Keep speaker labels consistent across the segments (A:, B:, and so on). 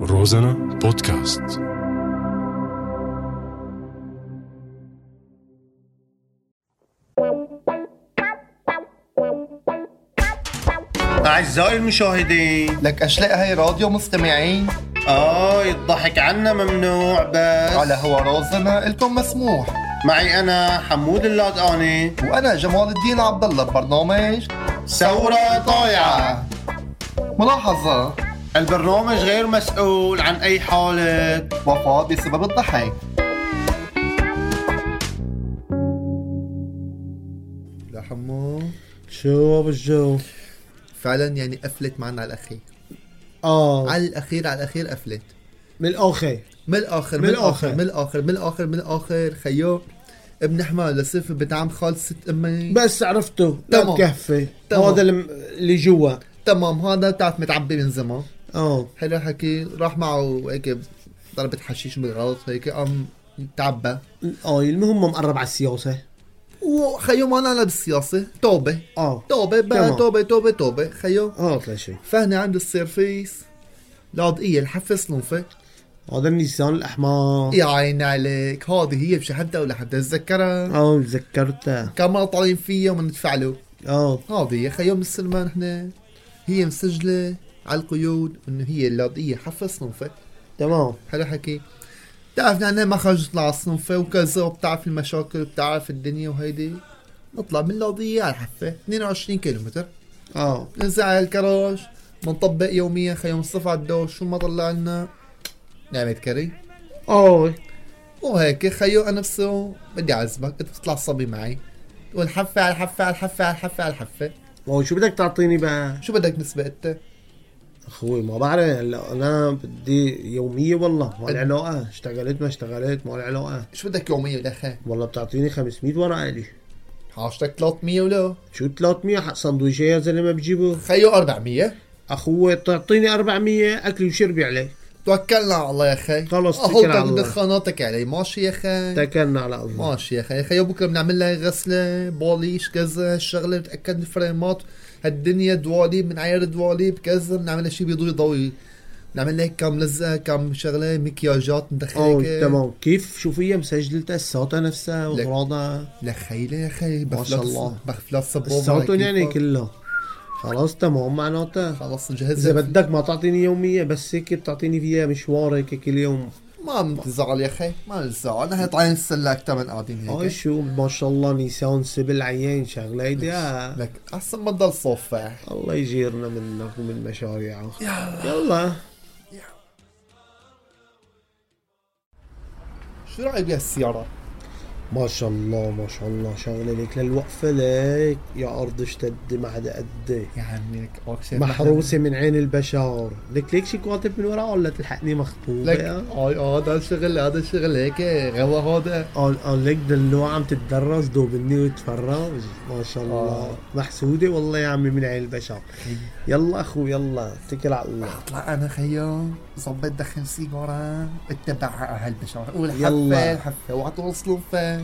A: روزانا بودكاست
B: أعزائي المشاهدين
C: لك أشلاء هاي راديو مستمعين
B: آه الضحك عنا ممنوع بس
C: على هو رازنا إلكم مسموح
B: معي أنا حمود اللادقاني
C: وأنا جمال الدين عبد الله ببرنامج
B: ثورة طايعة
C: ملاحظة
B: البرنامج غير مسؤول عن أي حالة
C: وفاة بسبب الضحك
D: لا حمو
E: شو ابو الجو
D: فعلا يعني قفلت معنا على الاخير
E: اه
D: على الاخير على الاخير قفلت
E: من الاخي
D: من الاخر
E: من
D: من الاخر
E: الآخر.
D: من الاخر من الاخر من الاخر خيو ابن حمار لصف بنت عم خال ست امي
E: بس عرفته لا
D: تمام.
E: تكفي
D: تمام.
E: هذا الم- اللي جوا
D: تمام هذا بتعرف متعبي من زمان
E: اه
D: حلو حكي راح معه هيك ضربة حشيش بالغلط هيك قام تعبى
E: اه المهم مقرب على السياسه
D: وخيو ما لنا بالسياسة توبة
E: اه
D: توبة بقى
E: تمام.
D: توبة توبة توبة خيو
E: اه طلع شيء
D: فهنا عنده السير فيس العضقية الحفص لنفه
E: هذا النيسان الاحمر
D: يا عيني عليك هذه هي بشهدها ولا حدا يتذكرها
E: اه تذكرته
D: كمان طالعين فيها ومندفع له
E: اه
D: هذه يا اخي يوم السلمان هنا هي مسجله على القيود انه هي إيه، اللاذقيه حفظ صنفه
E: تمام
D: حلو حكي بتعرف نحن يعني ما خرجتنا على الصنفه وكذا وبتعرف المشاكل بتعرف الدنيا وهيدي نطلع من اللاذقيه على الحفه 22 كيلومتر
E: اه
D: ننزل على الكراج بنطبق يوميا خيوم الصف على الدور شو ما طلع لنا نعمة كري
E: اه
D: وهيك خيو انا بصير بدي اعزمك انت بتطلع صبي معي والحفه على الحفه على الحفه على الحفه على الحفه
E: واو شو بدك تعطيني بقى
D: شو بدك نسبة انت؟
E: اخوي ما بعرف هلا انا بدي يوميه والله ما لي علاقه اشتغلت ما اشتغلت ما لي علاقه
D: شو بدك يومية بالاخر؟
E: والله بتعطيني 500 ورقه لي
D: حاجتك 300 ولا؟
E: شو 300 حق سندويشه يا زلمه بجيبه
D: خيو 400
E: اخوي تعطيني 400 اكلي وشربي عليه
D: توكلنا على الله يا آه، اخي
E: خلص، توكل
D: اهو
E: على الله.
D: دخاناتك علي ماشي يا اخي
E: تكلنا على الله
D: ماشي يا اخي يا خيو بكره بنعمل لها غسله بوليش كذا هالشغله بتاكد من الفريمات هالدنيا دواليب بنعير دواليب كذا بنعمل لها شيء بيضوي ضوي بنعمل لها كم لزقه كم شغله مكياجات ندخل
E: اوه
D: هيك.
E: تمام كيف شو فيها مسجلة الصوت نفسها
D: لك.
E: وغراضها
D: لا خيلة يا اخي
E: ما شاء الله.
D: بخفلات صبوبه
E: الصوت
D: على
E: يعني
D: كيفك.
E: كله خلاص تمام معناتها
D: خلص
E: اذا
D: نجهزها
E: بدك ما تعطيني يومية بس هيك بتعطيني فيها مشوار هيك كل يوم
D: ما عم تزعل يا اخي ما نزعل نحن طالعين نتسلى اكثر من قاعدين
E: هاي
D: هيك
E: شو ما شاء الله نيسان سبل عيان شغلة هيدي آه.
D: لك احسن ما تضل صفة
E: الله يجيرنا منك ومن مشاريعك يلا
D: شو رايك بهالسيارة؟
E: ما شاء الله ما شاء الله شغلة لك للوقفة لك يا أرض اشتد ما حدا قدك
D: يا عمي لك أوك شايف
E: محروسة من عين البشر لك ليك شي كاتب من ورا ولا تلحقني
D: نحن-
E: مخطوبة
D: لك
E: يا؟
D: اي اه هذا الشغل هذا الشغل هيك غوا هذا
E: قال قال آه، لك دلوع عم تتدرج دوبني وتفرج ما شاء الله
D: آه.
E: محسودة والله يا عمي من عين البشر يلا أخو يلا اتكل على الله
D: اطلع انا خيو ظبط دخن سيجارة اتبع هالبشر قول
E: يلا.
D: حفة حفة واعطوا صلفة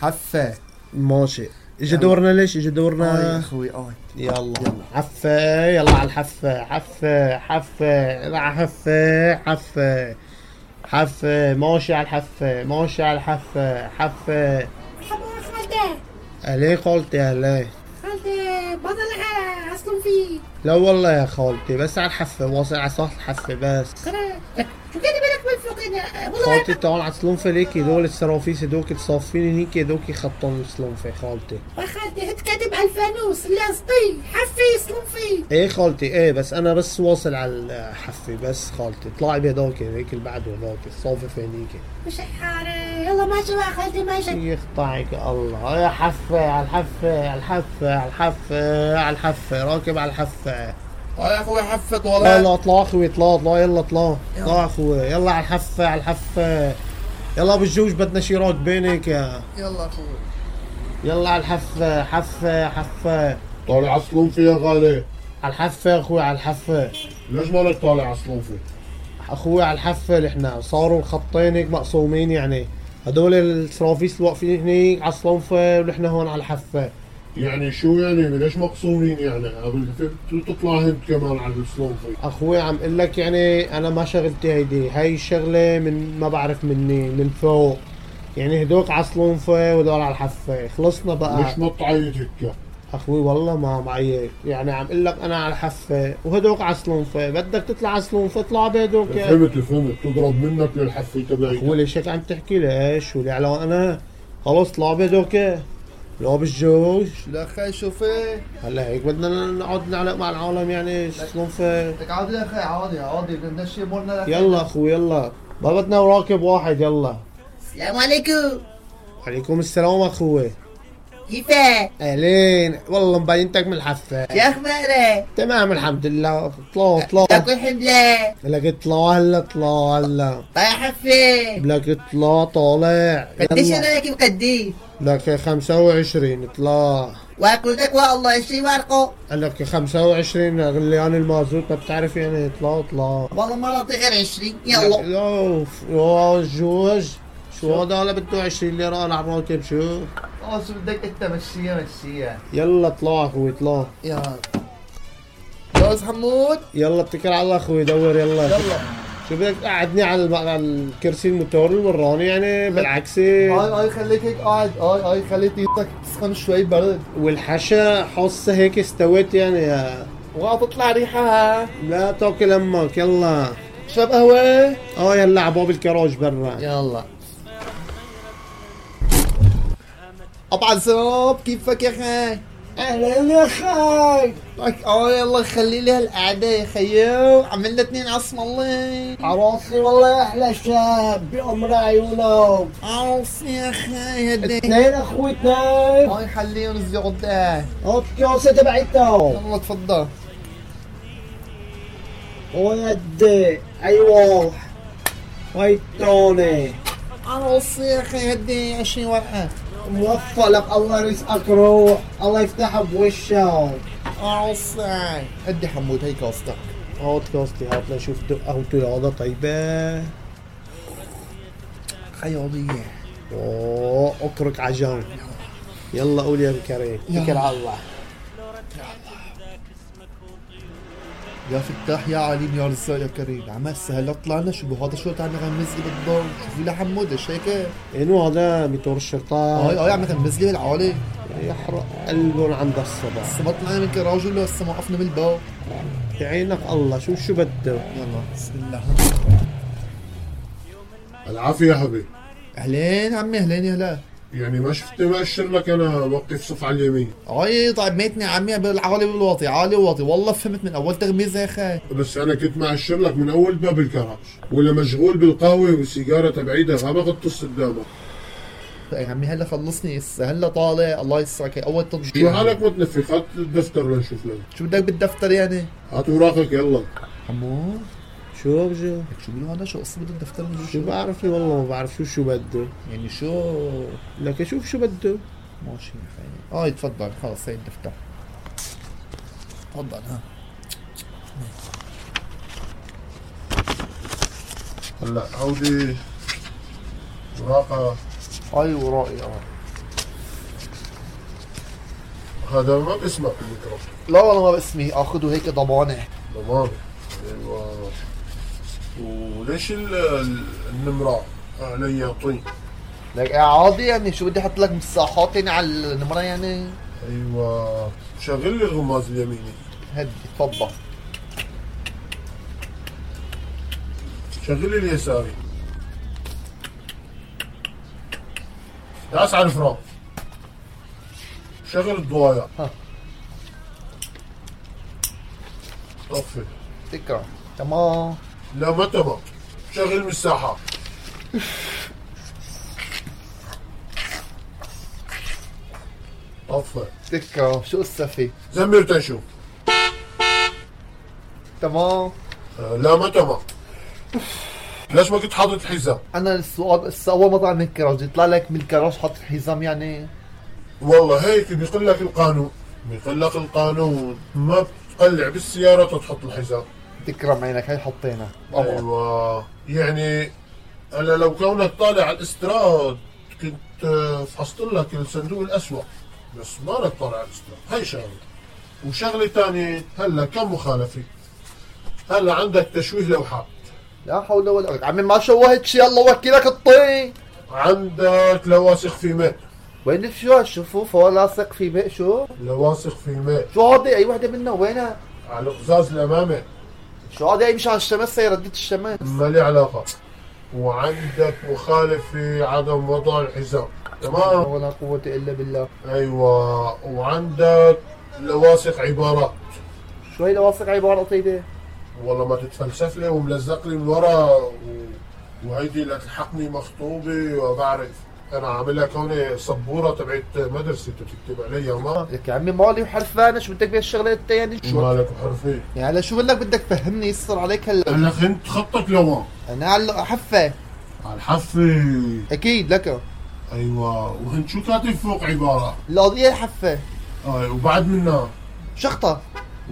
D: حفة
E: ماشي اجا دورنا ليش اجا
D: يعني آه يا
E: دورنا
D: اخوي اه
E: يلا حفة يلا على الحفة حفة حفة يلا على حفة حفة حفة ماشي على الحفة ماشي على الحفة حفة
F: مرحبا خالتي
E: أليه خالتي أليه
F: خالتي بطل على اصلا في
E: لا والله يا خالتي بس على الحفة واصل على سطح الحفة بس
F: ترى لك شو كاتب لك من فوق هنا والله
E: خالتي تعال على سلونفة ليك دول السرافيس هدوك تصفين هنيك هدوك يخطون سلونفة خالتي
F: يا خالتي هت كاتب الفانوس لازقي حفي اصلا في
E: ايه خالتي ايه بس انا بس واصل على الحفة بس خالتي طلعي بهدوك هيك اللي بعده هدوك الصافف هنيك
F: مش حارة يلا ماشي بقى خالتي ماشي
E: يقطعك الله يا حفة على الحفة على الحفة على الحفة على الحفة راكب على الحفة
D: اه يا اخوي حفة
E: يلا اطلع اخوي اطلع اطلع يلا اطلع اطلع اخوي يلا على الحفة على الحفة يلا بالجوج بدنا شي راكبينك يا
D: يلا اخوي
E: يلا على الحفة حفة حفة
G: طالع على الصنوفي يا غالي
E: على الحفة يا اخوي على الحفة
G: ليش مالك طالع على الصنوفي؟
E: اخوي على الحفة نحن صاروا الخطين هيك مقسومين يعني هدول السرافيس اللي واقفين هنيك على الصنفة ونحن هون على الحفة
G: يعني شو يعني ليش مقصورين يعني قبل شو تطلع هند كمان على السلونفي
E: اخوي عم اقول لك يعني انا ما شغلتي هيدي هاي الشغله من ما بعرف مني من فوق يعني هدوك على الصلونفه ودول على الحفه خلصنا بقى
G: ليش ما تعيط هيك
E: اخوي والله ما معيط يعني عم اقول لك انا على الحفه وهدوك على الصلونفه بدك تطلع على الصلونفه اطلع بهدوك يا
G: فهمت فهمت تضرب منك للحفه
E: هو
G: تبعيتك
E: ليش هيك عم تحكي ليش ولي على انا خلص لعبة دوكة لعب الجوج
D: لا خي شوفي
E: هلا هيك بدنا نقعد نعلق مع العالم يعني شلون في
C: لك عادي يا اخي عادي عادي بدنا شي امورنا لك
E: يلا اخوي يلا ما بدنا وراكب واحد يلا
F: السلام عليكم
E: عليكم السلام اخوي
F: كيفك؟
E: اهلين والله مبينتك من الحفه
F: شو اخبارك؟
E: تمام الحمد لله اطلعوا اطلعوا
F: تاكل حملة؟
E: لك اطلعوا هلا اطلعوا هلا
F: طيب حفة
E: لك اطلع طالع
F: قديش
E: يلا
F: انا لك مقدي؟
E: لك 25 اطلع
F: واكلتك والله اشتري ورقه
E: لك 25 غليان المازوت ما بتعرف يعني اطلع اطلع
F: والله ما راضي غير 20 يلا
E: يوف يا جوج شو هذا ولا بده 20 ليره انا عم راكب شو
D: آه،
C: اه شو بدك انت مشيها مشيها
E: يلا اطلع اخوي اطلع
D: يا جوز حمود
E: يلا اتكل على الله اخوي دور يلا
D: يلا
E: شو بدك تقعدني على الم- على الكرسي الموتور المراني يعني بالعكس
C: هاي هاي خليك هيك قاعد هاي هاي خليك ايدك تسخن شوي برد
E: والحشا حاسه هيك استوت يعني يا-
C: وقع تطلع ريحة
E: لا تاكل امك يلا
C: شرب قهوة
E: اه يلا على باب الكراج برا
D: يلا ابو عزاب كيفك يا خي
E: اهلا يا خي
D: لك اه يلا خلي لي هالقعده يا خيو عملنا اثنين عصم الله
E: عروسي والله يا احلى شاب بامر عيونك
D: عوف يا خي هدي
E: اثنين اخوي اثنين
D: هاي خليهم يزيعوا الدقاق
E: هوب الكاسه تبعتهم
D: يلا تفضل
E: ودي
C: أيوه.
E: ايوه ويتوني
D: عروسي يا اخي هدي 20 ورقه
E: موفق لك الله يرزقك روح الله يفتحها بوشك
D: عروسي قد حمود هي قصتك
E: هات كاستي هات لشوف قهوتي هذا طيبة
D: خياليه
E: اوه اترك عجان يلا قول يا كريم اتكل على الله
D: يا فتاح يا عليم يا رزاق يا كريم عم هسه هلا طلعنا شو بهذا شو عم يغمز لي بالضوء شوفي لحمود ايش هيك
E: انو هذا ميتور الشرطة
D: هاي هاي عم يغمز لي بالعالي
E: يحرق قلبهم عند الصبح
D: هسه ما طلعنا من كراج ولا هسه ما وقفنا بالباب
E: يعينك الله شوف شو بده
D: يلا بسم الله
G: العافيه يا حبيبي
D: اهلين عمي اهلين يا هلا
G: يعني ما شفت ما اشر لك انا وقف صف على اليمين
D: اي طيب ميتني عمي بالعالي والواطي عالي وواطي والله فهمت من اول تغميزه يا اخي
G: بس انا كنت مأشر لك من اول باب الكراج ولا مشغول بالقهوه والسيجاره تبعيتها ما غطس قدامك
D: يا إيه، عمي هلا خلصني هسه هلا طالع الله يسرك هي اول
G: شو
D: تطبيق
G: حالك متنفخ هات الدفتر لنشوف لك
D: شو بدك بالدفتر يعني؟
G: هات اوراقك يلا
D: حمود
E: شو بجو
D: لك شو بيقولوا هذا شو قصة بده الدفتر من
E: شو
D: جوا؟
E: بعرفني والله ما بعرف شو شو بده
D: يعني شو
E: لك شوف شو بده
D: ماشي يا خيي اه تفضل خلص هي الدفتر تفضل ها
G: هلا عودي اوراقك
D: اي ورائي اه
G: هذا ما بيسمع بالميكروفون
D: لا والله ما باسمي اخذه هيك ضبانه
G: تمام ايوه وليش ال- ال- النمرة علي طيب؟ طين
D: لك عادي يعني شو بدي احط لك مساحات يعني على النمره يعني
G: ايوه شغل لي الغماز اليميني
D: هدي تفضل
G: شغل لي اليساري داس على الفراغ شغل الضوايع
D: ها.
G: طفي
D: تكره تمام
G: لا ما تمام شغل المساحة طفي
D: تكره شو قصة فيه
G: زمر تشوف
D: تمام
G: لا ما تمام ليش ما كنت حاطط الحزام؟
D: انا السؤال لسه اول ما طلع من الكراج يطلع لك من الكراج حاط حزام يعني
G: والله هيك بيقول لك القانون بيقول لك القانون ما بتقلع بالسيارة تحط الحزام
D: تكرم عينك هي حطينا
G: ايوه يعني انا لو كونك طالع على الاستراد كنت آه، فحصت لك الصندوق الاسود بس ما نطلع على الاسلام هاي شغله وشغله ثانيه هلا كم مخالفه هلا عندك تشويه لوحات
D: لا حول ولا قوة عمي ما شوهت شيء الله وكلك الطين
G: عندك لواثق في ماء
D: وين شو شوف هو لاصق في بق شو
G: لواثق في ماء
D: شو هادي اي وحده منها وينها
G: على القزاز الامامي
D: شو هادي اي مش على الشمس هي ردت الشمس
G: ما لي علاقه وعندك مخالف في عدم وضع الحزام
D: لا
G: تمام
D: ولا قوة الا بالله
G: ايوه وعندك لواثق عبارات
D: شو هي لواصق عبارة طيبة
G: والله ما تتفلسف لي وملزق لي من ورا و... وهيدي لا تلحقني مخطوبه وبعرف انا عامل لك هون سبوره تبعت مدرستي بتكتب عليها ما
D: لك يا عمي مالي وحرفانة شو بدك بهالشغلة التانية شو
G: مالك وحرفي
D: يعني هلا شو بدك بدك تفهمني يصر عليك هلا
G: هلا فهمت خطك لوين
D: انا على حفة
G: على الحفه
D: اكيد لك
G: ايوه وهن شو كاتب فوق عباره
D: القضية الحفة
G: اي وبعد منها
D: شخطة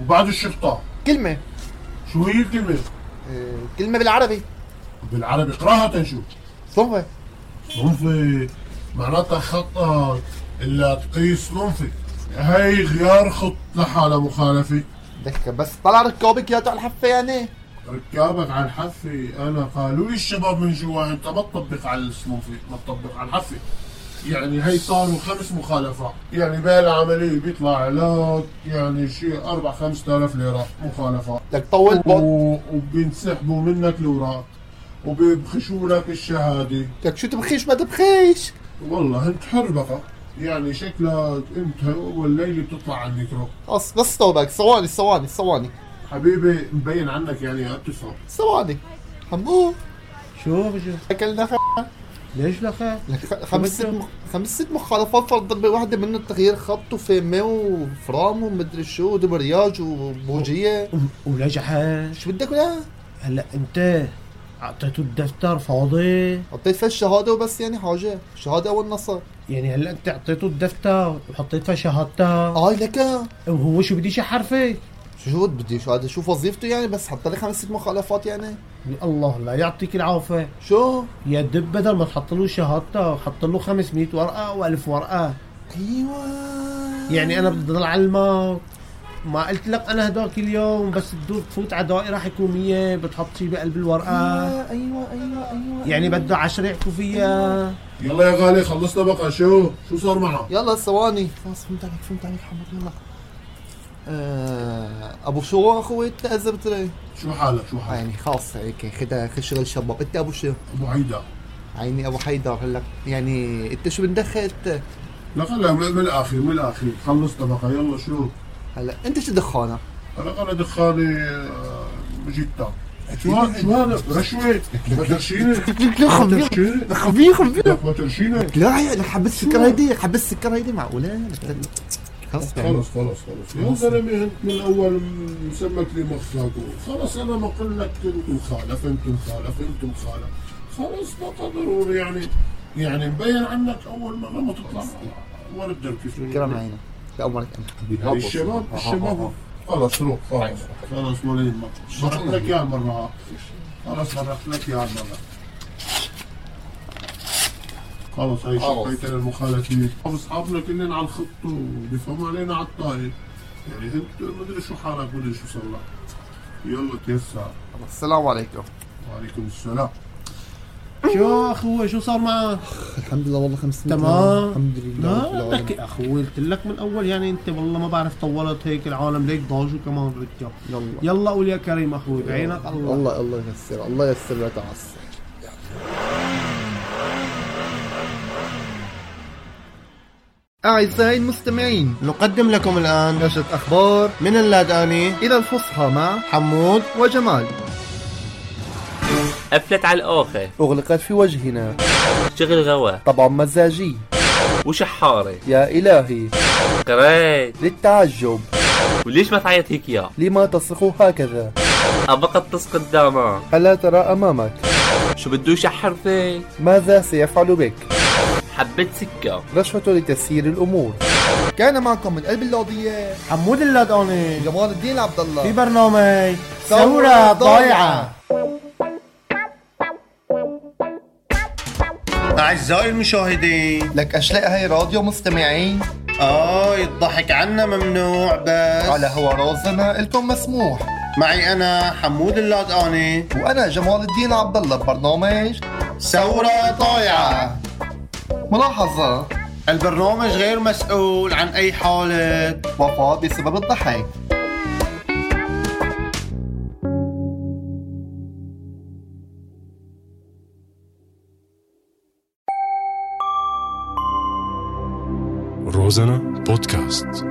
G: وبعد الشرطه
D: كلمة
G: شو هي الكلمه
D: آه، كلمة بالعربي
G: بالعربي اقراها تنشوف
D: صنفة
G: صنفي معناتها خطك الا تقيس صنفي هاي غيار خط لحالها مخالفه
D: بدك بس طلع ركابك يا تاع الحفة يعني
G: ركابك على الحفه انا قالوا لي الشباب من جوا انت ما تطبق على الصنوفي ما تطبق على الحفه يعني هي صاروا خمس مخالفات يعني بهالعمليه بيطلع علاج يعني شيء اربع خمس آلاف ليره مخالفات
D: بدك طول بق
G: و- وبينسحبوا منك الاوراق وبيبخشوا لك الشهاده
D: بدك شو تبخيش ما تبخيش
G: والله انت حر بقى يعني شكلك انت اول ليله بتطلع على الميكرو
D: بس بس توبك ثواني ثواني ثواني
G: حبيبي مبين عنك يعني ما بتفهم
D: ثواني حمو
B: شو بشو
D: اكلنا خ...
B: ليش لخا
D: لك خ- خمس ست مخ... خمس ست مخالفات فرض ضربة واحدة منهم تغيير خط وفيمي وفرام ومدري شو ودبرياج وبوجية
B: ولجحة
D: شو بدك ولا
B: هلا انت اعطيته الدفتر فاضي
D: حطيت فيها الشهادة وبس يعني حاجة شهادة أول نصر
B: يعني هلا انت اعطيته الدفتر وحطيت فيها شهادتها
D: آي لك
B: وهو شو بديش حرفه
D: شو شو بدي شو هذا شوف وظيفته يعني بس حط لي خمس ست مخالفات يعني
B: الله لا يعطيك العافيه
D: شو
B: يا دب بدل ما تحط له شهادته حط له 500 ورقه و1000 ورقه
D: ايوه
B: يعني انا بدي اضل علمك ما قلت لك انا هداك اليوم بس تدور تفوت على دائره حكوميه بتحط شيء بقلب الورقه
D: ايوه ايوه ايوه, أيوة.
B: يعني بده عشرة يحكوا فيها
G: يلا يا غالي خلصنا بقى شو شو صار معه
D: يلا ثواني خلاص فهمت عليك فهمت عليك حمد يلا آه ابو شو اخوي تأذبت لي
G: شو حالك شو حالك
D: يعني خلاص هيك خدها خد شغل شباب انت ابو شو
G: ابو عيدة
D: عيني ابو حيدر هلا يعني انت شو بندخل إنت؟
G: لا خليها من من الاخير من الاخير خلصنا بقى يلا شو
D: هلا انت شو دخانك
G: انا انا دخاني آه، جدا شو هذا شو هذا رشوه ما ترشيني
D: لا
G: ما
D: خبير
G: ترشيني
D: خبير خبير
G: لك ما ترشيني
D: لا يا لك حبة السكر هيدي حبة السكر هيدي معقولة خلص يعني
G: خلص خلص خلص يا زلمه انت من اول مسمك لي مخفاق خلص انا ما اقول لك انت مخالف انت مخالف انت مخالف خلص بقى ضروري يعني يعني مبين عنك اول ما لما تطلع ولا تدرك
D: كرم عينك بأمرك أنت
G: الشباب الشباب خلص روح خلص خلص وليد ما شرحت لك اياها مره خلص شرحت لك اياها مره خلص هاي شقيتنا المخالفين اصحابنا كلنا على الخط وبيفهموا علينا على الطاير يعني انت مدري شو حالك مدري شو صار لك يلا تيسر
D: السلام عليكم
G: وعليكم السلام
D: أيوة.
B: شو اخوي شو صار معك
H: الحمد لله والله 500
B: تمام.
H: الحمد لله رب
B: لا
H: العالمين.
B: بدك اخوي قلت لك من الاول يعني انت والله ما بعرف طولت هيك العالم ليك ضاجوا كمان رجال
H: يلا
B: يلا قول يا كريم اخوي بعينك الله
H: الله الله ييسر الله ييسر لا تعصب
D: أعزائي المستمعين
B: نقدم لكم الان
D: نشرة أخبار
B: من اللاداني
D: إلى الفصحى مع
B: حمود
D: وجمال
I: قفلت على الاخر
D: أغلقت في وجهنا
I: شغل غوا
D: طبعا مزاجي
I: وشحاره
D: يا إلهي
I: قريت
D: للتعجب
I: وليش ما تعيط هيك يا
D: لما تصرخ هكذا
I: أبقى تصق قدامها
D: ألا ترى أمامك
I: شو بده يشحر فيك
D: ماذا سيفعل بك
I: حبيت سكه
D: رشوة لتسيير الأمور كان معكم من قلب اللوضية
B: حمود اللاداني
D: جمال الدين عبد
B: في
D: الله
B: برنامج ثورة ضايعة
J: أعزائي المشاهدين
D: لك أشلاء هاي راديو مستمعين
B: اه الضحك عنا ممنوع بس
D: على هو رازنا الكم مسموح
B: معي انا حمود اللادقاني
D: وانا جمال الدين عبد الله ببرنامج
B: ثورة طايعة
D: ملاحظة
B: البرنامج غير مسؤول عن اي حالة
D: وفاة بسبب الضحك
A: Розана подкаст.